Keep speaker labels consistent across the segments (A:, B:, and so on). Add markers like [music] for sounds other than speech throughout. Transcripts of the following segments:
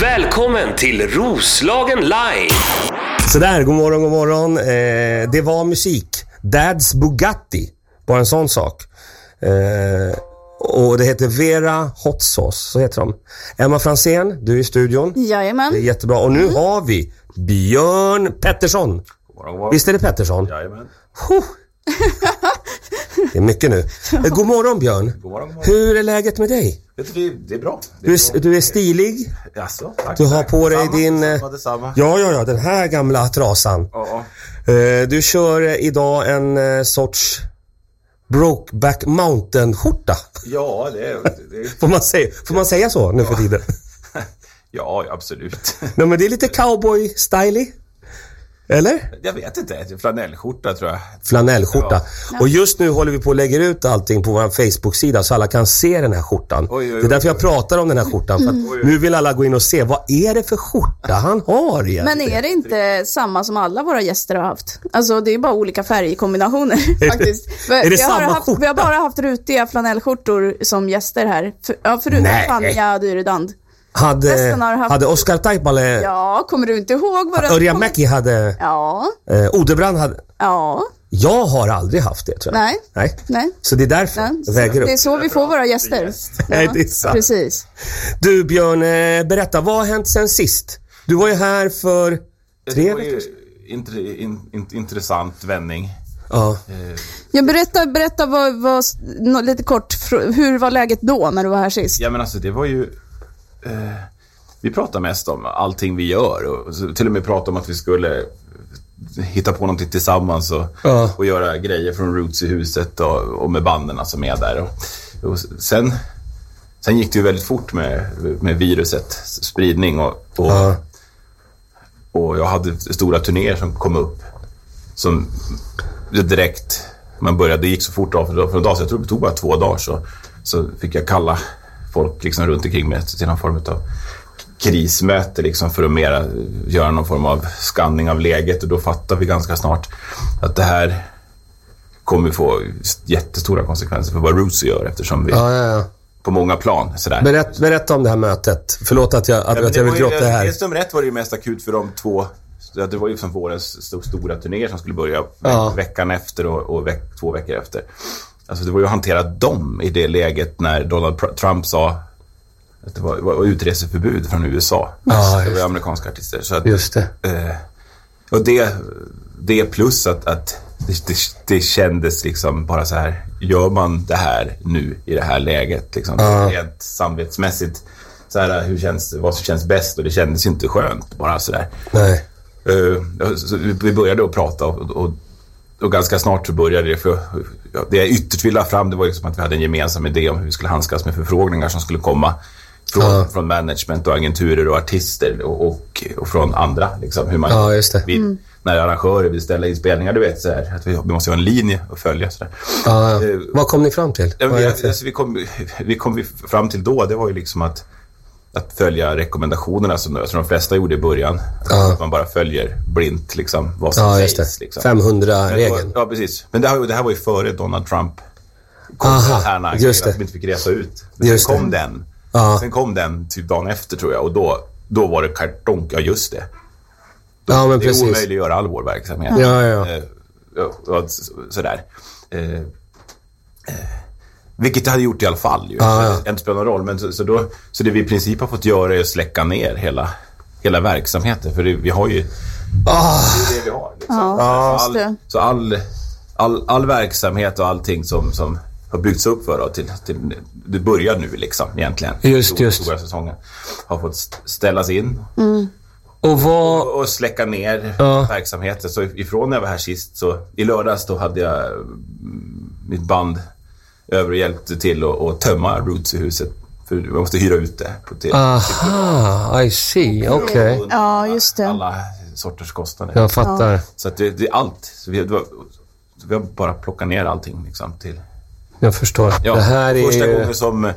A: Välkommen till Roslagen live!
B: Sådär, god morgon, god morgon. Eh, det var musik. Dads Bugatti. Bara en sån sak. Eh, och det heter Vera Hot Sauce. Så heter de. Emma Fransén, du är i studion. Det är
C: Jajamän.
B: jättebra. Och nu har vi Björn Pettersson. Visst är det Pettersson?
D: Jajamän.
B: Huh. Det är mycket nu. Eh, God morgon Björn.
D: God morgon, god morgon.
B: Hur är läget med dig?
D: Vet du, det, det är bra. Det
B: Du
D: är
B: är,
D: bra.
B: du är stilig.
D: Jaså, tack,
B: Du har
D: tack.
B: på dig
D: Detsamma,
B: din... eh,
D: Detsamma, detsamma. Ja.
B: Ja, ja, ja. Den här gamla trasan.
D: ja.
B: Eh, Du kör eh, idag en eh, sorts Brokeback Mountain-skjorta.
D: Ja, det, är- det, är-
B: Får man, säga, får man säga så nu för tiden?
D: ja, absolut. [laughs]
B: Nej, men det är lite cowboy-stylig. Eller?
D: Jag vet inte. det är Flanellskjorta tror jag.
B: Flanellskjorta. Och just nu håller vi på och lägger ut allting på vår Facebook-sida så alla kan se den här skjortan.
D: oj,
B: det är därför
D: oj, Mm.
B: jag pratar om den här skjortan. För att nu vill alla gå in och se. Vad är det för skjorta han har egentligen?
C: Men är det inte samma som alla våra gäster har haft? Alltså det är bara olika färgkombinationer faktiskt.
B: [laughs]
C: För
B: är det
C: vi, har
B: samma
C: haft,
B: skjorta?
C: vi har bara haft rutiga flanellskjortor som gäster här. För, ja, förutom
B: Nej.
C: Fania Dyredand.
B: Hade,
C: Resten har haft-
B: hade Oscar Taipale,
C: Ja, kommer du inte ihåg vad den
B: Örjan
C: kom-
B: Mäki hade,
C: Ja,
B: eh, Odebrand hade.
C: ja,
B: Jag har aldrig haft det tror jag.
C: Nej.
B: Nej.
C: nej.
B: Så det är därför
C: nej.
B: jag väger upp.
C: Det är så vi får våra gäster.
B: Nej,
C: Ja,
B: det är sant.
C: Precis.
B: Du Björn, eh, berätta. Vad har hänt sen sist? Du var ju här för tre
D: Det var ju
B: veckor
D: int, in, in, intressant vändning.
B: Ja.
C: Jag berätta berätta vad, vad, nå- lite kort, fr- hur var läget då när du var här sist?
D: Ja, men alltså det var ju... Eh, vi pratar mest om allting vi gör och så, till och med pratade om att vi skulle hitta på någonting tillsammans och,
B: Ja.
D: och göra grejer från Roots i huset och, och med banden som är där. Och, och sen, sen gick det ju väldigt fort med, med virusets spridning och, och,
B: Ja.
D: och jag hade stora turnéer som kom upp som direkt man började, det gick så fort av för en dag, så jag tror det tog bara två dagar så, så fick jag kalla folk liksom runt omkring mig till någon form av krismöte liksom för att mera göra någon form av skanning av läget och då fattade vi ganska snart att det här kommer få jättestora konsekvenser för vad Roots gör eftersom vi
B: Ja, ja, ja.
D: på många plan sådär.
B: Berätt, berätta om det här mötet. Förlåt att jag, att,
D: Ja, men
B: att jag vill
D: var ju-
B: gråta här.
D: Dels nummer ett var det ju mest akut för de två. ja, Det var ju som vårens st- stora turnéer som skulle börja
B: Ja.
D: veckan efter och, och veck, två veckor efter. Alltså det var ju att hantera dem i det läget när Donald Pr- Trump sa att det var, var utreseförbud från USA.
B: Ja,
D: det
B: just
D: var
B: det.
D: ju amerikanska artister. Så att,
B: Just det.
D: eh, och det, det plus att, att det, det, det kändes liksom bara så här, gör man det här nu i det här läget? Liksom, Rent samvetsmässigt, så här, hur känns, det? vad som känns bäst? Och det kändes ju inte skönt bara sådär.
B: Nej.
D: Eh, så vi vi började att prata och, och, och ganska snart så började det. För, ja, det jag ytterst ville ha fram det var liksom att vi hade en gemensam idé om hur vi skulle handskas med förfrågningar som skulle komma från,
B: Ja.
D: från management och agenturer och artister och, och, och från andra. Liksom, hur man,
B: Ja, just det.
D: vi, När arrangörer vill ställa inspelningar, du vet, så här, att vi, vi måste ju ha en linje att följa. Så där.
B: Ja, ja.
D: Eh,
B: Vad kom ni fram till?
D: Ja, men
B: Vad är
D: vi,
B: det för-
D: alltså, vi, kom, vi kom vi fram till då, det var ju liksom att, att följa rekommendationerna som jag tror de flesta gjorde i början.
B: Ja.
D: Att man bara följer blint liksom, vad som
B: Ja, just
D: sägs.
B: det.
D: Liksom. Men det var-
B: 500-regeln.
D: Ja, precis. Men det, här, det här var ju före Donald Trump.
B: Aha,
D: här när
B: just
D: att
B: det.
D: de inte fick resa ut. Men
B: Just
D: sen kom
B: det.
D: den.
B: Ja.
D: Sen kom den typ dagen efter tror jag och då, då var det kartonk, ja just det. Då,
B: Ja, men
D: det
B: precis.
D: omöjliggör all vår verksamhet.
B: Ja, ja.
D: Eh, ja, ja, så- sådär. Eh, eh, vilket det hade gjort i alla fall. Ju.
B: Ja, ja.
D: Så det inte spelar någon roll. Men så, så, då, så det vi i princip har fått göra är att släcka ner hela, hela verksamheten. För det, vi har ju...
B: Ah.
D: Det är det vi har. Liksom.
C: Ja,
D: så
C: just det.
D: all, så all, all, all verksamhet och allting som, som har byggts upp för då, till, till, det börjar nu liksom egentligen.
B: Just,
D: Stora-
B: just.
D: Stora säsongen har fått st- ställas in
B: Och vad...
D: och släcka ner
B: Ja.
D: verksamheten. Så ifrån när jag var här sist så i lördags då hade jag mm, mitt band över och hjälpte till att att tömma Roots i huset. För vi måste hyra ut det. På till.
B: Aha, I see. Okej.
D: Och
C: Ja, just det.
D: Alla sorters kostnader.
B: Jag fattar.
D: Så att det, det är allt. Så vi, det var, så vi har bara plockat ner allting liksom till...
B: Jag förstår.
D: Ja,
B: det här är
D: första
B: ju...
D: gången som... eh,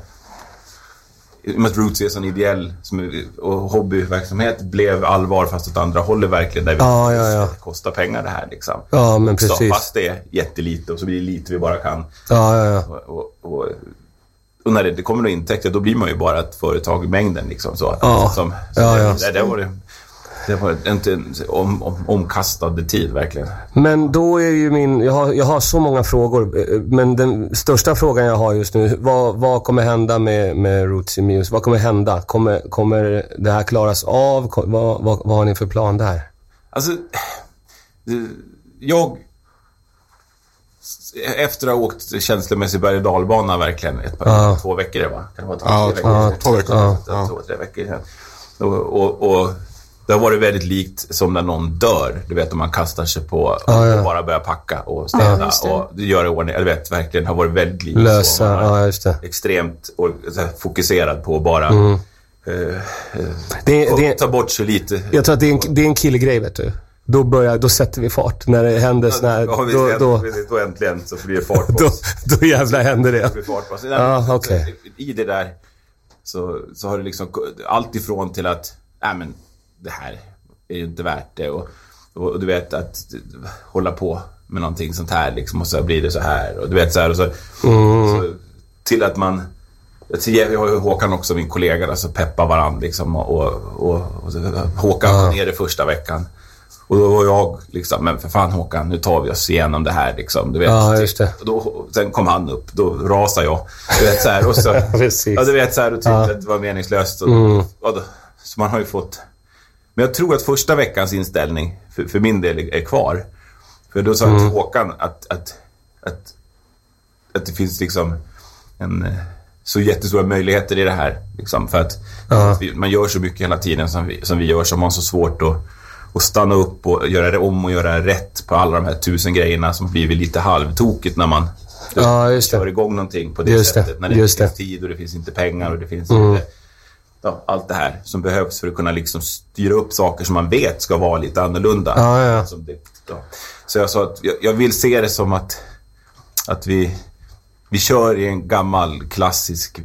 D: I och med att Roots är en sån ideell som, och hobbyverksamhet blev allvar fast åt andra hållet verkligen. Där vi
B: Ja, ja, ja.
D: Det kostar pengar det här liksom.
B: Ja, men
D: Så,
B: precis.
D: fast det är jättelite och så blir det lite vi bara kan.
B: Ja, ja, ja.
D: Och, och, och, och när det, det kommer några intäkter, då blir man ju bara ett företag i mängden. Liksom, så.
B: Ja.
D: Som, så
B: Ja, ja.
D: Det, det, var, det, det var inte en om, om, omkastad tid verkligen.
B: Men då är ju min... Jag har, jag har så många frågor. eh, Men den största frågan jag har just nu. Vad, vad kommer hända med, med Roots in Muse? Vad kommer hända? Kommer, kommer det här klaras av? Ko- Vad, vad, vad har ni för plan där?
D: Alltså, det- jag... Efter att ha åkt känslomässig berg och dalbana verkligen ett par,
B: Ja.
D: två veckor, det va? Kan det vara två,
E: Ja,
D: tre
E: två,
D: veckor?
E: två veckor.
B: Ja.
E: Ja.
D: två, tre veckor sedan. Och, och, och det har varit väldigt likt som när någon dör. Du vet om man kastar sig på och bara börjar packa och
C: Ja,
D: städa
C: just det.
D: och göra i ordning. Eller vet, verkligen har varit väldigt likt. så. eh,
B: Lösa...
D: Man har
B: Ja, just det.
D: Extremt och, så här, fokuserad på att bara eh,
B: det, det
D: ta bort så lite.
B: jag tror att det är en, det är en killegrej, vet du. Då, börjar, då sätter vi fart. När det händer såna här...
D: Ja, visst,
B: Då, då,
D: visst, då äntligen så blir det fart på
B: då,
D: oss.
B: då jävlar händer det.
D: blir fart på oss.
B: Ja, okej.
D: alltså, I det där så, så har det liksom allt ifrån till att nej men det här är ju inte värt det och, och, och du vet att hålla på med någonting sånt här liksom och så blir det så här och du vet så här och så,
B: Mm.
D: så till att man jag ser- jag har ju Håkan också, min kollega, där, så peppar varandra liksom och, och, och, och så- Håkan var nere första veckan. Och då var jag liksom, men för fan Håkan, nu tar vi oss igenom det här liksom. Du vet,
B: Ja, just det.
D: och då, och sen kom han upp, då rasade jag. Du vet, så här, och så,
B: Precis.
D: [laughs] Ja, Mm. du vet, så här, och tyckte att det var meningslöst. Och, och då, så man har ju fått... Men jag tror att första veckans inställning för, för min del är kvar. För då sa jag till Håkan att, att, att, att det finns liksom en, eh, så jättestora möjligheter i det här. Liksom, för att att vi, man gör så mycket hela tiden som vi, som vi gör, som man har så svårt att, att stanna upp och göra det om och göra rätt på alla de här tusen grejerna som blivit lite halvtokigt när man
B: Ja, just
D: kör
B: det.
D: igång någonting på det
B: Just det,
D: sättet. När det
B: just
D: inte finns
B: det. Mm.
D: tid och det finns inte pengar och det finns inte ja, allt det här som behövs för att kunna liksom styra upp saker som man vet ska vara lite annorlunda.
B: Ja, ja, ja.
D: Som det, ja. Så jag sa att jag, jag vill se det som att, att vi, vi kör i en gammal klassisk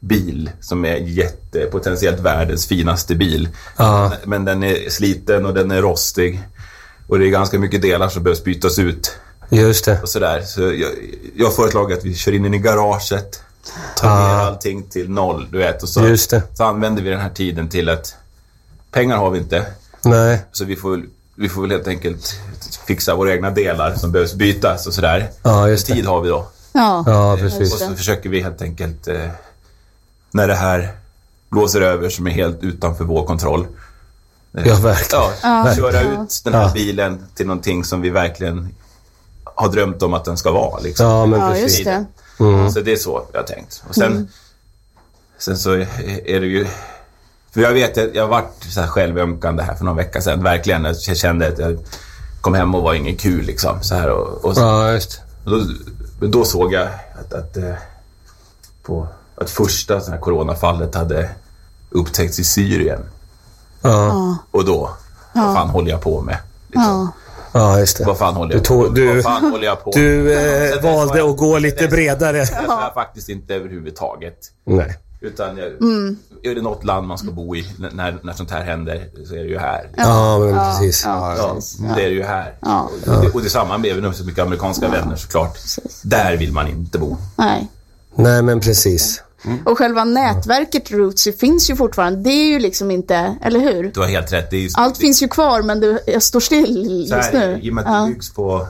D: bil som är jätte, potentiellt världens finaste bil.
B: Ja.
D: Men den är sliten och den är rostig. Och det är ganska mycket delar som behövs bytas ut
B: Just det.
D: och sådär. Så jag, jag föreslår att vi kör in den i garaget, tar ner allting till noll, du vet. Och så,
B: Ah. Just det.
D: så använder vi den här tiden till att pengar har vi inte,
B: Nej.
D: så vi får, väl- vi får väl helt enkelt fixa våra egna delar som behövs bytas och sådär.
B: Ja, just det.
D: Tid har vi då.
C: Ja.
B: Ja,
D: Och
B: precis.
D: så försöker vi helt enkelt, eh, när det här blåser över som är helt utanför vår kontroll,
B: Ja, verkligen.
D: Ja, köra ut den här bilen till någonting som vi verkligen har drömt om att den ska vara. Liksom.
B: Ja, men
C: Ja,
B: precis.
C: just det.
D: Så det är så jag har tänkt. Och sen,
B: Mm.
D: sen så är det ju... För jag vet, jag, jag varit så här självömkande här för någon vecka sedan. Verkligen. Jag kände att jag kom hem och var ingen kul liksom. Så här och, och så,
B: Ja, just
D: och då, men då såg jag att, att, eh, på, att första sån här coronafallet hade upptäckts i Syrien.
B: Ja,
D: Och då, vad fan håller jag på med? Liksom.
C: Ja.
B: ja just det.
D: Vad fan håller
B: Du
D: jag på
B: tog-
D: med?
B: du-
D: Vad fan håller jag på med?
B: Du eh,
D: Så det
B: valde
D: var-
B: att gå lite bredare.
D: Det var jag faktiskt inte överhuvudtaget.
B: Nej.
D: Utan jag,
C: Mm.
D: är det något land man ska bo i n- när, när sånt här händer så är det ju här.
B: Ja, men precis.
C: Ja,
D: Ja,
C: precis.
D: det är det ju här.
C: Ja.
D: Och, det, och detsamma med även så mycket amerikanska vänner såklart. Där vill man inte bo.
C: Nej.
B: Nej, men precis.
C: Och själva nätverket Rootsy finns ju fortfarande. Det är ju liksom inte, eller hur?
D: Du har helt rätt. Det är ju,
C: Allt finns ju kvar, men det jag står still
D: så
C: just
D: här,
C: nu.
D: I och med att
C: Ja.
D: det byggs på,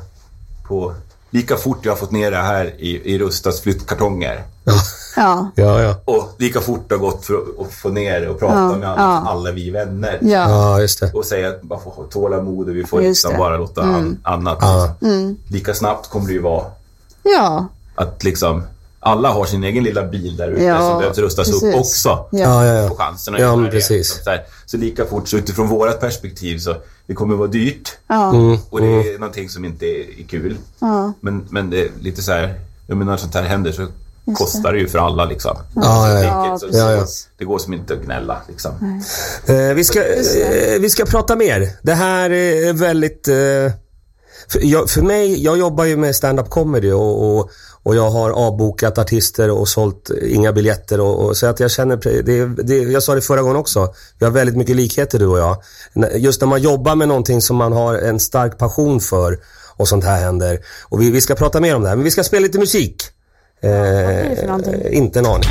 D: på... Lika fort jag har fått ner det här i, i Rustas flyttkartonger
C: Ja.
B: Ja, ja.
D: och lika fort det har gått för att- att få ner det och prata
C: Ja,
D: med alla,
C: ja.
D: alla vi vänner.
C: Ja.
B: Ja, just det.
D: och säga att man får ha tålamod och vi får
C: Just
D: liksom
C: det. Mm.
D: bara låta an, annat. Lika snabbt kommer det ju vara
C: Ja.
D: att liksom alla har sin egen lilla bil där ute
C: Ja,
D: som behövs rustas upp
C: precis.
D: också.
B: Ja, ja,
D: Få
B: ja.
D: chansen att
B: Ja,
D: göra
B: men
D: det.
B: precis.
D: Så, här, så lika fort, så utifrån vårt perspektiv så det kommer vara dyrt
C: Ja.
B: Mm.
D: och det är någonting som inte är kul. Men, men det är lite så här, jag menar när sånt här händer så kostar det ju för alla liksom.
B: Ja, ja, ja.
D: Enkelt,
C: Ja,
D: så-
B: Ja, ja.
C: precis.
D: Det går som inte att gnälla liksom.
B: Eh, vi, ska, eh, vi ska prata mer. Det här är väldigt... Eh, för, jag, för mig, jag jobbar ju med stand-up comedy och, och, och jag har avbokat artister och sålt eh, inga biljetter. Och, och, så att jag känner, pre- det, det, jag sa det förra gången också, vi har väldigt mycket likheter du och jag. N- Just när man jobbar med någonting som man har en stark passion för och sånt här händer. Och vi, vi ska prata mer om det här, men vi ska spela lite musik. Eh,
C: är det för någonting?
B: inte en aning.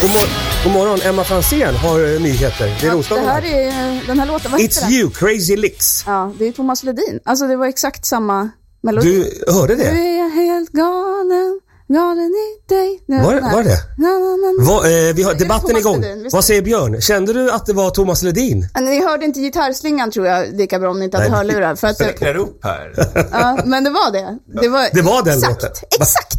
B: God, mor- God morgon, Emma Franzén har eh, nyheter. Det är
C: Det
B: Roslagen
C: här
B: här.
C: är den här låten, vad heter
B: It's
C: den?
B: you, Crazy Licks.
C: Ja, det är Thomas Ledin. Alltså det var exakt samma melodi.
B: Du hörde
C: Nu
B: det?
C: är jag helt galen, galen i dig. Nu är
B: Var-
C: den här.
B: var det?
C: Na, na, na, na.
B: Vad, eh, vi har debatten är
C: Thomas
B: igång.
C: Ledin, visst.
B: Vad säger Björn? Kände du att det var Thomas Ledin?
C: Men Ni hörde inte gitarrslingan tror jag lika bra om ni inte hade
B: Nej.
C: hörlurar.
B: [laughs]
C: För att,
D: Räknar upp här.
C: ja, men det var det. Det var,
B: Det var den
C: exakt,
B: låten. [laughs]
C: Exakt!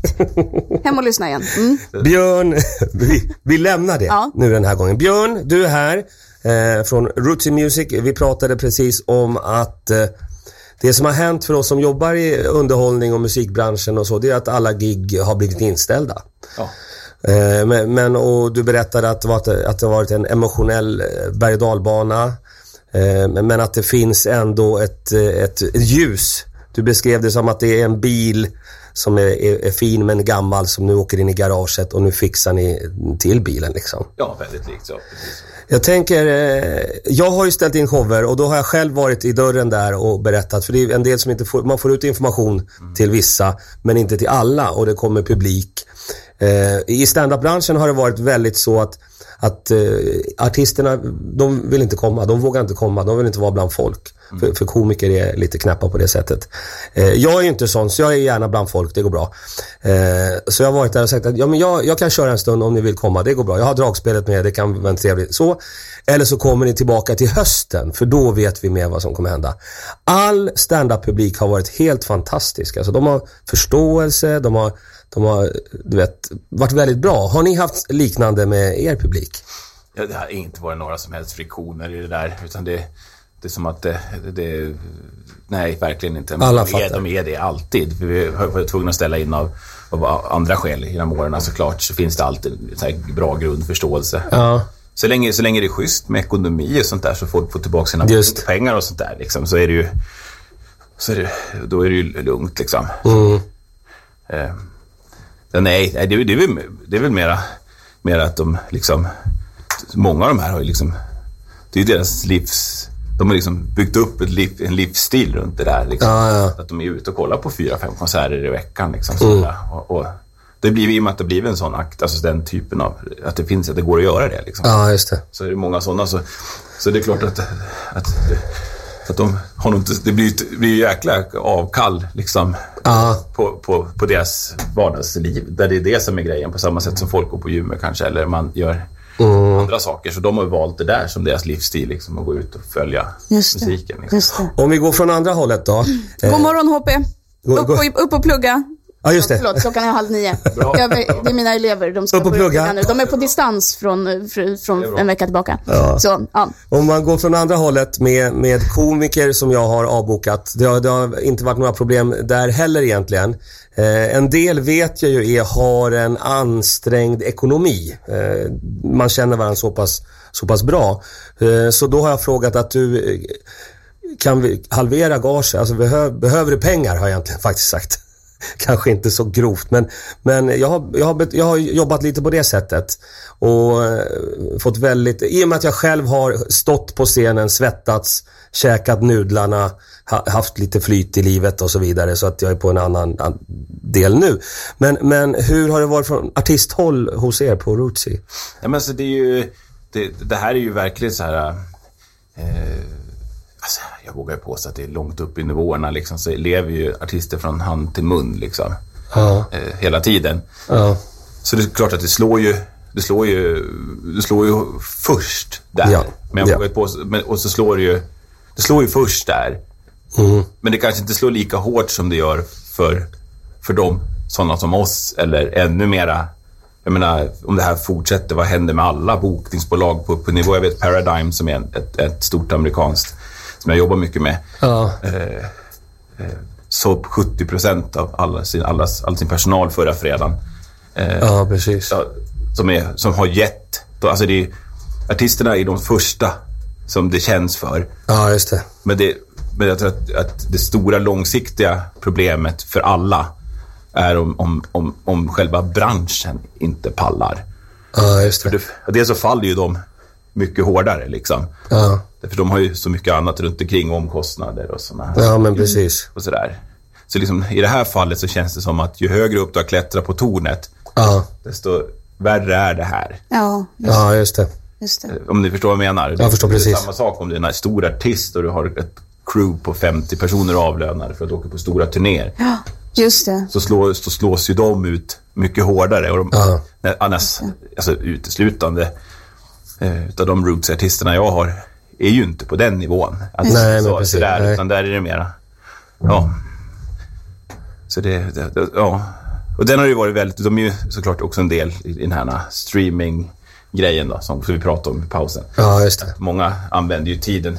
C: Hem och lyssna igen. Mm.
B: Björn, [laughs] vi, vi lämnar det
C: Ja.
B: nu den här gången. Björn, du är här eh, från Rootsy Music. Vi pratade precis om att eh, det som har hänt för oss som jobbar i underhållning och musikbranschen och så, det är att alla gig har blivit inställda.
D: Ja.
B: Eh, men, men och du berättade att det, var, att det har varit en emotionell eh, berg och dalbana. Eh, men men att det finns ändå ett, eh, ett, ett ljus. Du beskrev det som att det är en bil som är, är, är fin men gammal som nu åker in i garaget och nu fixar ni till bilen liksom.
D: ja, väldigt likt. Ja, precis.
B: Jag tänker, eh, jag har ju ställt in shower och då har jag själv varit i dörren där och berättat. För det är en del som inte får, man får ut information till vissa men inte till alla och det kommer publik. Eh, I standup-branschen har det varit väldigt så att, att eh, artisterna, de vill inte komma, de vågar inte komma, de vill inte vara bland folk. För, för komiker är lite knäppa på det sättet. Eh, jag är ju inte sån, så jag är gärna bland folk, det går bra. Eh, så jag har varit där och sagt att ja, men jag, jag kan köra en stund om ni vill komma, det går bra. Jag har dragspelet med, det kan vara en trevlig så. Eller så kommer ni tillbaka till hösten, för då vet vi mer vad som kommer hända. All standup-publik har varit helt fantastisk. Alltså, de har förståelse, de har, de har du vet, varit väldigt bra. Har ni haft liknande med er publik?
D: Ja, det har inte varit några som helst friktioner i det där. Utan det, det är som att det... det nej, verkligen inte. Men
B: Alla
D: de, är,
B: fattar.
D: de är det alltid. För Vi har varit tvungna att ställa in av, av andra skäl genom åren såklart. Så finns det alltid så här bra grundförståelse.
B: Ja.
D: Så länge, så länge det är schysst med ekonomi och sånt där så folk får tillbaka sina
B: Just.
D: pengar och sånt där liksom, så är det ju... Så är det, då är det ju lugnt liksom.
B: Mm.
D: Eh, ja, nej, nej, det, är- det, är väl, det är väl mera, mera att de liksom... Många av de här har ju liksom... Det är ju deras livs... De har liksom byggt upp ett liv, en livsstil runt det där. Liksom.
B: Ah, Ja, Mm. ja.
D: Att de är ute och kollar på fyra, fem konserter i veckan. Liksom, sådär. och, och det blir ju i och med att det blir en sån akt, alltså den typen av... Att det finns, att det går att göra det. Liksom
B: Ja, just det.
D: så är det många sådana. Så, så det är klart att, att, att de har nog inte, det blir ju det blir ju jäkla avkall liksom,
B: Ja.
D: på, på, på deras vardagsliv. Där det är det som är grejen, på samma sätt som folk går på gymmet kanske, eller man gör andra saker. Så de har ju valt det där som deras livsstil, liksom, att gå ut och följa
C: Just det.
D: musiken. Liksom.
C: Just det.
B: Om vi går från andra hållet då. Eh,
C: God morgon HP.
B: God-
C: Upp och, upp och plugga.
B: ja, just det.
C: Förlåt, klockan är
B: [laughs]
C: halv nio. Jag, det är mina elever. De ska
B: Upp och
C: börja
B: plugga.
C: nu. De är på distans från, fr- från en vecka tillbaka. Så, ja.
B: Om man går från andra hållet med, med komiker som jag har avbokat. Det har, det har inte varit några problem där heller egentligen. Eh, en del vet jag ju är, har en ansträngd ekonomi. Eh, man känner varandra så pass, så pass bra. Eh, så då har jag frågat att du eh, kan vi halvera gaget? Alltså behö, behöver du pengar har jag egentligen faktiskt sagt. [laughs] Kanske inte så grovt men, men jag, har, jag, har, bet- jag har jobbat lite på det sättet. Och eh, fått väldigt, i och med att jag själv har stått på scenen, svettats, käkat nudlarna, ha, haft lite flyt i livet och så vidare så att jag är på en annan an, del nu. Men, men hur har det varit från artisthåll hos er på Rootsy?
D: Ja, men så det är ju, det, det här är ju verkligen så här... Eh, alltså, jag vågar ju påstå att det är långt upp i nivåerna. Liksom, så lever ju artister från hand till mun liksom,
B: Ja.
D: eh, hela tiden.
B: Ja.
D: Så det är klart att det slår ju, det slår ju, det slår ju först där.
B: Ja.
D: Men jag
B: Ja.
D: vågar ju påstå, men, och så slår det ju, det slår ju först där.
B: Mm.
D: Men det kanske inte slår lika hårt som det gör för, för de sådana som oss. Eller ännu mera, jag menar, om det här fortsätter, vad händer med alla bokningsbolag på, på nivå? Jag vet Paradigm som är en, ett, ett stort amerikanskt, som jag jobbar mycket med
B: Ja.
D: så 70 procent av alla sin, allas, all sin personal förra fredagen.
B: ja, precis.
D: Ja, som, är, som har gett... Då, alltså det är, artisterna är de första som det känns för.
B: Ja, just det.
D: Men, det, men jag tror att, att det stora långsiktiga problemet för alla är om, om, om, om själva branschen inte pallar.
B: Ja, just det.
D: Det- Dels så faller ju de mycket hårdare. Liksom.
B: Ja,
D: För de har ju så mycket annat runt omkring, omkostnader och sådana här
B: ja men precis.
D: och sådär. Så liksom, i det här fallet så känns det som att ju högre upp du har klättrat på tornet,
B: Ja,
D: desto värre är det här.
C: Ja,
B: ja just det.
C: just det.
D: Eh, Om ni förstår vad jag menar.
B: Jag förstår
D: det är
B: precis.
D: samma sak om du är en stor artist och du har ett crew på 50 personer avlönade för att åka på stora turnéer.
C: Ja, just det.
D: Så, slå, så slås ju de ut mycket hårdare. Och de,
B: Ja.
D: när, annars, alltså uteslutande, eh, utav de roots-artisterna jag har, är ju inte på den nivån. Att
B: Nej,
D: så,
B: men precis.
D: Sådär,
B: Nej.
D: Utan där är det mera, ja. Så det, det, det ja. Och den har ju varit väldigt, de är ju såklart också en del i den här streaming-grejen då, som som vi pratade om i pausen.
B: Ja, just det.
D: Många använder ju tiden,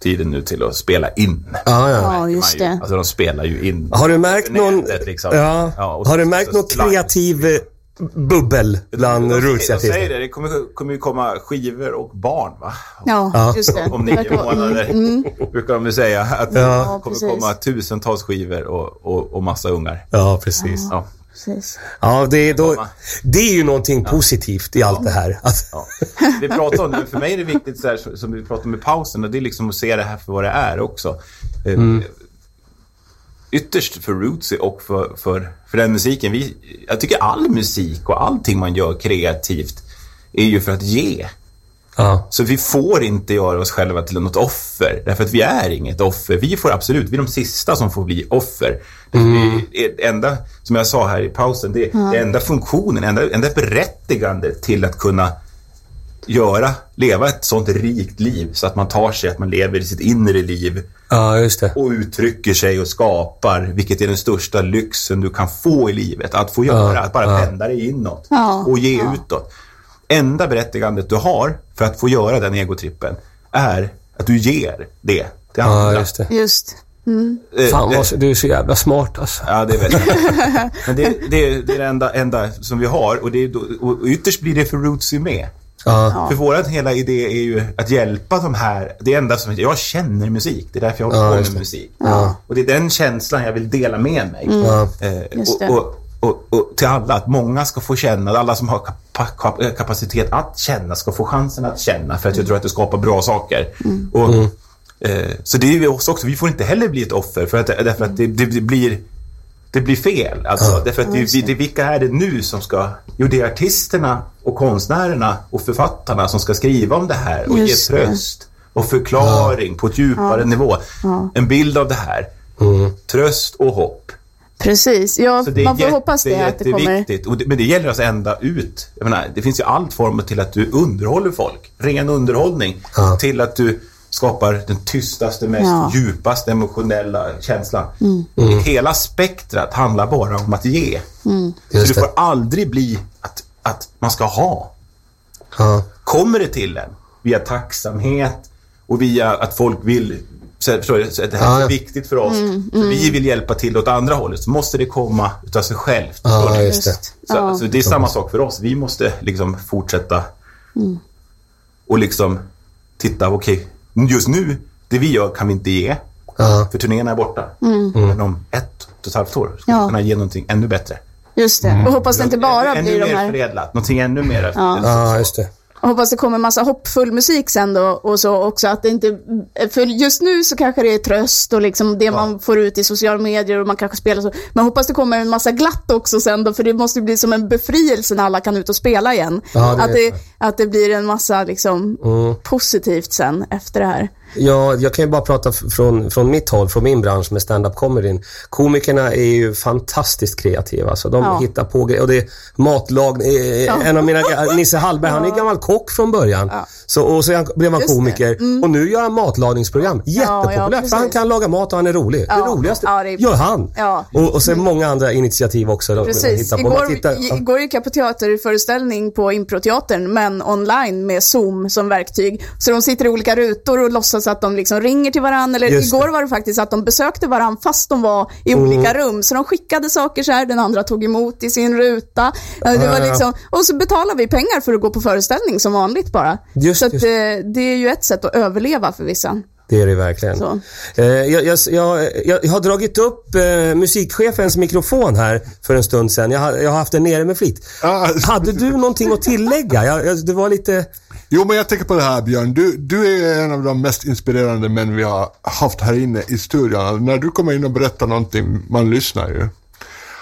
D: tiden nu till att spela in.
B: Ja, ja.
C: Ja, just
D: Man ju-
C: det.
D: Alltså de spelar ju in.
B: Har du märkt någon,
D: Nätet, liksom.
B: ja,
D: Ja, och
B: har du
D: så-
B: märkt
D: så-
B: någon
D: live.
B: kreativ eh, bubbel bland
D: De säger- De säger
B: rullsartister?
D: det, det kommer, kommer ju komma skivor och barn va?
C: Ja,
B: Ja.
C: just det.
D: Om nio
C: Verkar-
D: månader brukar de ju säga att det kommer
C: precis.
D: komma tusentals skivor och, och, och massa ungar.
B: Ja, precis.
D: Ja.
C: Precis.
B: Ja, det, är då, det är ju någonting positivt i allt det här. Alltså, Att,
D: Ja. Vi pratar om det, men för mig är det viktigt, så här, som- som vi pratade om i pausen, och det är liksom att se det här för vad det är också. Eh, Ytterst för Rootsy och för, för, för den musiken. Vi, jag tycker all musik och allting man gör kreativt är ju för att ge.
B: ja.
D: Så vi får inte göra oss själva till något offer, därför att vi är inget offer. Vi får absolut, vi är de sista som får bli offer. Mm. Det enda, som jag sa här i pausen, det, det enda funktionen, enda, enda berättigande till att kunna göra, leva ett sånt rikt liv så att man tar sig, att man lever i sitt inre liv
B: ja, just det.
D: och uttrycker sig och skapar, vilket är den största lyxen du kan få i livet. Att få göra,
B: Ja,
D: att bara vända dig inåt
C: Ja,
D: och ge utåt. Enda berättigandet du har för att få göra den egotrippen är att du ger det till andra.
B: Ja, just Mm. det.
C: Just.
D: Eh,
B: Fan,
D: eh,
B: vad, du är så jävla smart alltså.
D: Ja, det är väldigt
C: [laughs]
D: Men det, det, det är det enda, enda som vi har och, det är då, och ytterst blir det för Rootsy med.
B: Ja,
D: För våran hela idé är ju att hjälpa de här. Det enda som jag känner musik. Det är därför jag
B: Ja,
D: håller på
B: just
D: med
B: det.
D: musik. Och det är den känslan jag vill dela med mig.
B: ja,
D: Eh,
C: Mm. Just det.
D: och, och, och, och till alla, att många ska få känna, alla som har kapa- kap- eh, kapacitet att känna ska få chansen att känna
C: Mm.
D: för att jag tror att det skapar bra saker. Och,
B: Mm.
D: eh, så det är ju oss också, vi får inte heller bli ett offer för att, därför att det, det, det blir det blir fel. Alltså, Därför att det, det, det, vilka är det nu som ska... Jo, det är artisterna och konstnärerna och författarna som ska skriva om det här och
C: Just
D: ge
C: det.
D: tröst och förklaring på ett djupare nivå. En bild av det här. Tröst och hopp.
C: Precis. Ja,
D: Så det är
C: man får
D: jätte-
C: hoppas det, att det kommer.
D: jätteviktigt. Och det, men det gäller alltså ända ut. Jag menar, det finns ju allt form till att du underhåller folk. Ren underhållning.
B: Ja.
D: Till att du skapar den tystaste, mest
C: Ja. Mm.
D: djupaste emotionella känslan. Mm.
B: Mm.
D: Hela spektrat handlar bara om att ge. Så
B: Just
D: du
B: det.
D: får aldrig bli att, att man ska ha
B: ja,
D: kommer det till en via tacksamhet och via att folk vill så, här, förstår du? så att det här
B: Ja,
D: är
B: ja.
D: viktigt för oss.
C: Mm,
D: Så vi vill hjälpa till åt andra hållet. Så måste det komma utav sig självt. Förstår
B: ja,
D: du?
B: just det.
C: Just.
D: Så,
C: Ja.
D: så det är samma sak för oss. Vi måste liksom fortsätta
C: Mm.
D: och liksom titta, okej, just nu, det vi gör kan vi inte ge.
B: Ja,
D: För turnéerna är borta. Men om ett och ett halvt år ska
C: Mm. Ja.
D: vi kunna ge någonting ännu bättre.
C: Just det. Och hoppas det inte bara
D: Mm. ännu
C: blir de
D: mer
C: här...
D: förädlat, någonting ännu mer.
B: ja, just det.
C: Jag hoppas det kommer massa hoppfull musik sen då och så också att det inte, för just nu så kanske det är tröst och liksom det man får ut i sociala medier och man kanske spelar så. Men jag hoppas det kommer en massa glatt också sen då för det måste ju bli som en befrielse när alla kan ut och spela igen.
B: Ja, det
C: att,
B: vet Mm.
C: det, att det blir en massa liksom positivt sen efter det här.
B: Ja, jag kan ju bara prata f- från, från mitt håll, från min bransch med stand-up comedyn. Komikerna är ju fantastiskt kreativa. Alltså, de
C: Ja.
B: hittar på grejer. Och det är matlag. eh, eh, En av mina,
C: [laughs]
B: gra- Nisse Hallberg, han är gammal kock från början. Så, och så är han- blev han
C: Just det. Mm.
B: komiker. Och nu gör han matlagningsprogram.
C: ja,
B: Jättepopulärt.
C: precis.
B: för han kan laga mat och han är rolig.
C: Ja.
B: Det roligaste
C: Ja, det är-
B: gör han.
C: Ja.
B: Och, och sen många andra initiativ också. de- de
C: Precis.
B: hittar på. Man
C: Igår,
B: tittar-
C: i- igår gick jag på teaterföreställning på Improteatern, men online med Zoom som verktyg. Så de sitter i olika rutor och låtsas att de liksom ringer till varandra. Eller
B: Just det. Mm.
C: igår var det faktiskt att de besökte varandra fast de var i olika rum. Så de skickade saker så här, den andra tog emot i sin ruta. Ja, Det
B: Ja, Ah, ja,
C: var
B: ja.
C: liksom, och så betalar vi pengar för att gå på föreställning som vanligt bara.
B: Just,
C: så att,
B: just.
C: eh, det är ju ett sätt att överleva för vissa.
B: Det är det verkligen.
C: Så.
B: Eh, jag, jag, jag, jag har dragit upp eh, musikchefens mikrofon här för en stund sedan. Jag, har- jag har haft den nere med flit.
D: Ja.
B: Hade du någonting att tillägga? Jag, jag, det var lite...
E: Jo, men jag tänker på det här Björn. Du, du är en av de mest inspirerande män vi har haft här inne i studion. Alltså, när du kommer in och berättar någonting, man lyssnar ju.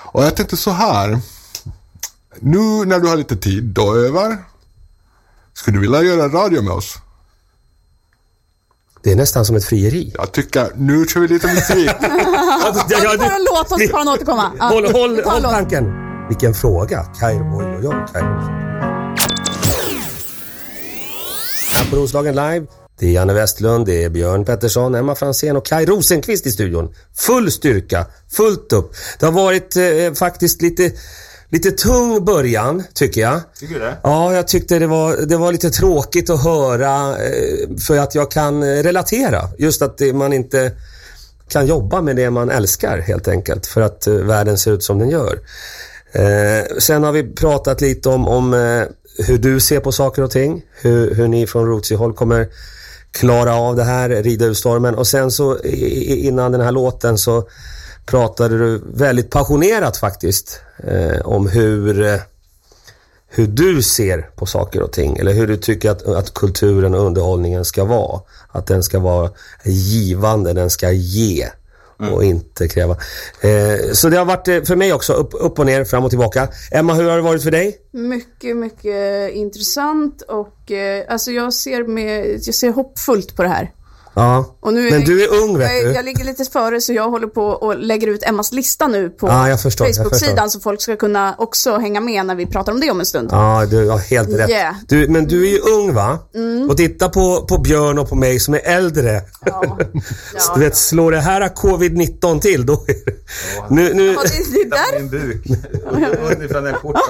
E: Och jag tänkte så här. Nu när du har lite tid då över. Skulle du vilja göra radio med oss?
B: Det är nästan som ett frieri.
E: Jag tycker, nu kör vi lite musik.
B: Ja, ja,
C: Vi tar en
B: det-
C: låt och så får han återkomma. Ja,
B: Håll, håll,
C: vi tar en
B: håll
C: låt.
B: tanken. Vilken fråga. Kairo, oj, oj, oj, Kairo. På Roslagen live. Det är Janne Westlund, det är Björn Pettersson, Emma Fransén och Kaj Rosenqvist i studion. Full styrka, fullt upp. Det har varit eh, faktiskt lite, lite tung början, tycker jag.
D: Tycker du det?
B: Ja, jag tyckte det var, det var lite tråkigt att höra eh, för att jag kan eh, relatera. Just att det, man inte kan jobba med det man älskar helt enkelt för att eh, världen ser ut som den gör. Eh, sen har vi pratat lite om, om eh, hur du ser på saker och ting. Hur, hur ni från Rootsy-håll kommer klara av det här, rida ur stormen. Och sen så i- i, innan den här låten så pratade du väldigt passionerat faktiskt eh, om hur eh, hur du ser på saker och ting eller hur du tycker att, att kulturen och underhållningen ska vara. Att den ska vara givande, den ska ge och inte kräva. Eh, så det har varit eh, för mig också, upp, upp och ner, fram och tillbaka. Emma, hur har det varit för dig?
C: Mycket, mycket intressant och eh, alltså jag ser, med, jag ser hoppfullt på det här.
B: Ja,
C: Och nu
B: men du är ung vet
C: jag,
B: du.
C: jag ligger lite före så jag håller på och lägger ut Emmas lista nu på
B: Ja, jag förstår, jag förstår.
C: Facebook-sidan så folk ska kunna också hänga med när vi pratar om det om en stund.
B: Ja, du har helt rätt.
C: Yeah. Mm.
B: Du, men du är ju ung va? Och titta på, på Björn och på mig som är äldre. [laughs]
C: Ja. Ja,
B: du vet, slår det här covid-19 till, då är det... Nu, nu...
C: Ja, det, det är
D: Titta på
C: där.
D: min buk.
C: [laughs]
D: Ungefär den skjortan.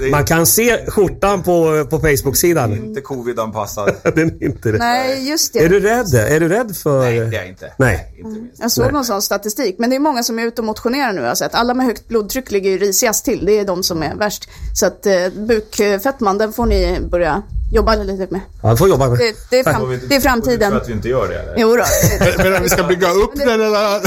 D: Det
B: Man
D: är
B: kan se skjortan på, på Facebook-sidan.
D: [laughs] inte covid-anpassad.
B: Den är inte det.
C: Nej, just
B: Är
C: det.
B: du rädd? Är du rädd för... eh,
D: Nej, det är jag inte.
B: Nej.
D: Inte minst.
C: Jag såg någon sån statistik, men det är många som är ute och motionerar nu har jag sett. Alla med högt blodtryck ligger ju risigast till, det är de som är värst. Så att eh, bukfettman, den får ni börja jobba lite med.
B: Ja, du får jobba med.
C: Det, det, är,
B: Tack.
D: Får vi
C: fram,
D: inte-
C: det är
D: får vi
C: framtiden.
D: tro att vi inte gör det eller?
C: Jo då.
E: Medan vi ska bygga upp den eller?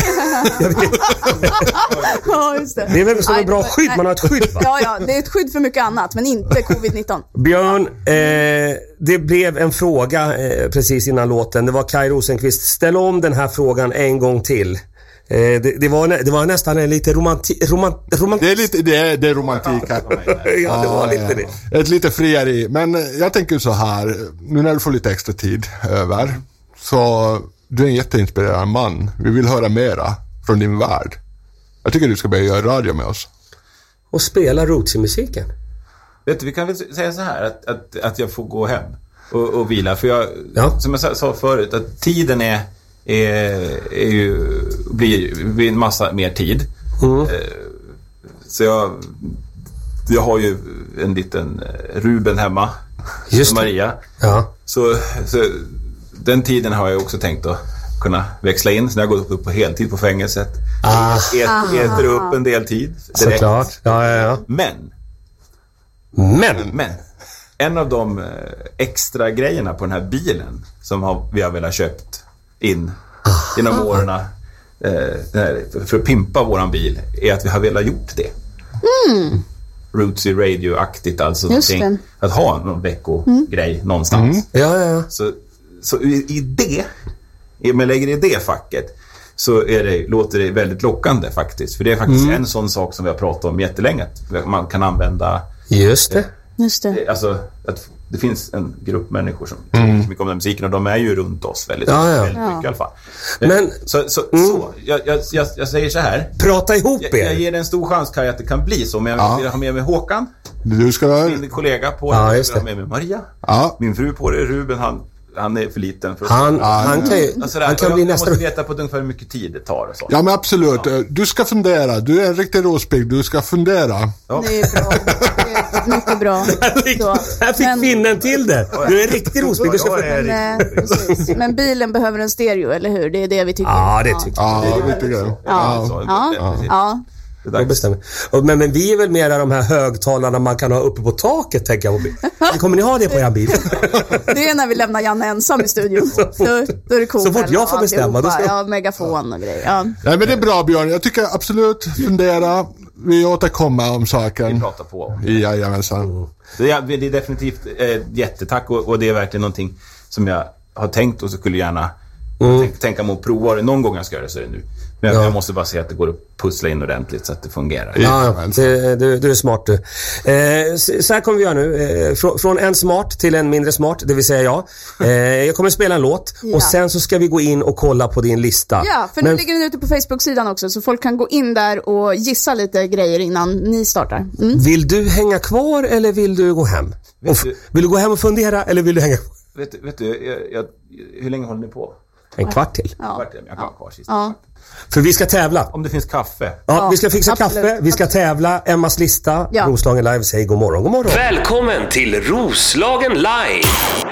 C: [laughs] ja, just det.
B: Det är väl som
C: Nej,
B: ett bra
C: det-
B: skydd?
C: nej.
B: Man har ett skydd va?
C: Ja, ja, det är ett skydd för mycket annat, men inte covid-19.
B: Björn, eh, det blev en fråga eh, precis innan låten. Det var Kaj Rosenqvist. Ställ om den här frågan en gång till. Eh, det, det, var, nä- det var nästan en lite romanti... Romant, romant,
E: Det är lite, det är, det är romantik här.
B: ja, det
D: Ah,
B: var lite det.
E: det. Ah, Ett lite frieri. Men eh, jag tänker så här, nu när du får lite extra tid över. Så du är en jätteinspirerande man. Vi vill höra mera från din värld. Jag tycker du ska börja göra radio med oss.
B: Och spela rootsy-musiken.
D: Vet du, vi kan väl säga så här att, att, att jag får gå hem och, och vila. För jag,
B: Ja.
D: som jag sa- sa förut, att tiden är, är, är ju, blir, blir en massa mer tid.
B: Mm.
D: Eh, Så jag, jag har ju en liten eh, Ruben hemma,
B: Just det.
D: Maria.
B: Ja.
D: Så, så den tiden har jag också tänkt att kunna växla in. Så när jag har gått upp på heltid på fängelset.
B: Ah.
D: Et, äter upp en del tid direkt.
B: Såklart. Ja, ja, ja.
D: Men
B: Men!
D: men en av de eh, extra grejerna på den här bilen som har, vi har velat köpt in genom åren eh, den här- för att pimpa våran bil är att vi har velat gjort det. Rootsy Radio-aktigt alltså.
C: Just
D: någonting. Att ha någon veckogrej någonstans.
B: Ja, ja, ja.
D: Så, så i, i det, om jag lägger i det facket, så är det, låter det väldigt lockande faktiskt. För det är faktiskt en sån sak som vi har pratat om jättelänge. Att man kan använda
B: Just det.
C: Just det.
D: Alltså, att det finns en grupp människor som tycker mycket om den här musiken och de är ju runt oss väldigt,
B: Mm. Ja, ja.
D: väldigt mycket i alla fall. Eh,
B: Men- Mm.
D: så, så, så jag, jag, jag, jag säger så här.
B: Prata ihop
D: Jag, jag
B: er.
D: ger dig en stor chans Kaj att det kan bli så, men jag
E: Ja.
D: vill ha med mig Håkan,
E: Du ska...
D: min kollega på
B: Ja,
D: jag
B: just
D: vill ha
B: det.
D: med mig Maria,
E: Ja,
D: min fru på det, Ruben, han, han är för liten för att...
B: Han, han kan ju...
D: och sådär.
B: Han
D: Och
B: kan
D: jag,
B: bli
D: jag
B: nästa...
D: måste veta på ungefär hur mycket tid det tar och så.
E: ja men absolut. Du ska fundera. Du är en riktig rospigg. Du ska fundera.
C: Det är bra. Det är mycket bra.
B: [laughs]
C: Så,
B: Här fick kvinnan till det. Du är en riktig rosbygd. Du ska få...
D: Jag är
C: men, eh,
D: riktigt-
C: precis. men bilen behöver en stereo, eller hur? Det är det vi tycker.
B: Ja, det tycker jag.
E: Ja, lite grann.
D: Ja, så.
C: Ja.
D: Precis.
C: Ja,
D: Det
B: Jag
D: är dags.
B: bestämmer. Och- Men, men vi är väl mera de här högtalarna man kan ha uppe på taket, tänker jag. på bil. Kommer ni ha det på er
D: [laughs]
B: bil?
C: det är när vi lämnar Janne ensam
B: [laughs]
C: i studion. Då, då är det cool.
B: Så fort jag får bestämma, då ska-
C: Ja, megafon och grejer. Ja.
E: Nej men det är bra Björn. Jag tycker absolut fundera. vi återkommer om saken.
D: Vi pratar på om.
E: Jajamensan.
D: Det är, det är definitivt eh, jättetack och, och det är verkligen någonting som jag har tänkt och så skulle gärna tänk, tänka mig att prova det. Någon gång jag ska göra det så är det nu. Men jag, jag måste bara se att det går att pussla in ordentligt så att det fungerar.
B: Ja, ja, det, du, du är smart du. Eh, s- så här kommer vi göra nu. Eh, frå- från en smart till en mindre smart, det vill säga jag. Eh, jag kommer spela en låt
C: Ja.
B: och sen så ska vi gå in och kolla på din lista.
C: Ja, för nu ligger den ute på Facebook-sidan också, så folk kan gå in där och gissa lite grejer innan ni startar. Mm.
B: Vill du hänga kvar eller vill du gå hem?
D: Vet
B: Och f-
D: du-
B: Vill du gå hem och fundera eller vill du hänga kvar?
D: Vet, du- vet du, jag, jag, hur länge håller ni på?
B: En kvart till.
C: Ja.
D: Vart är det? Jag kan vara kvar sist.
C: Ja.
B: För vi ska tävla.
D: Om det finns kaffe.
B: Ja,
C: Ja,
B: vi ska fixa
C: absolut.
B: kaffe, vi ska tävla, Emmas lista,
C: Ja.
B: Roslagen Live säger god morgon, god morgon.
A: Välkommen till Roslagen Live!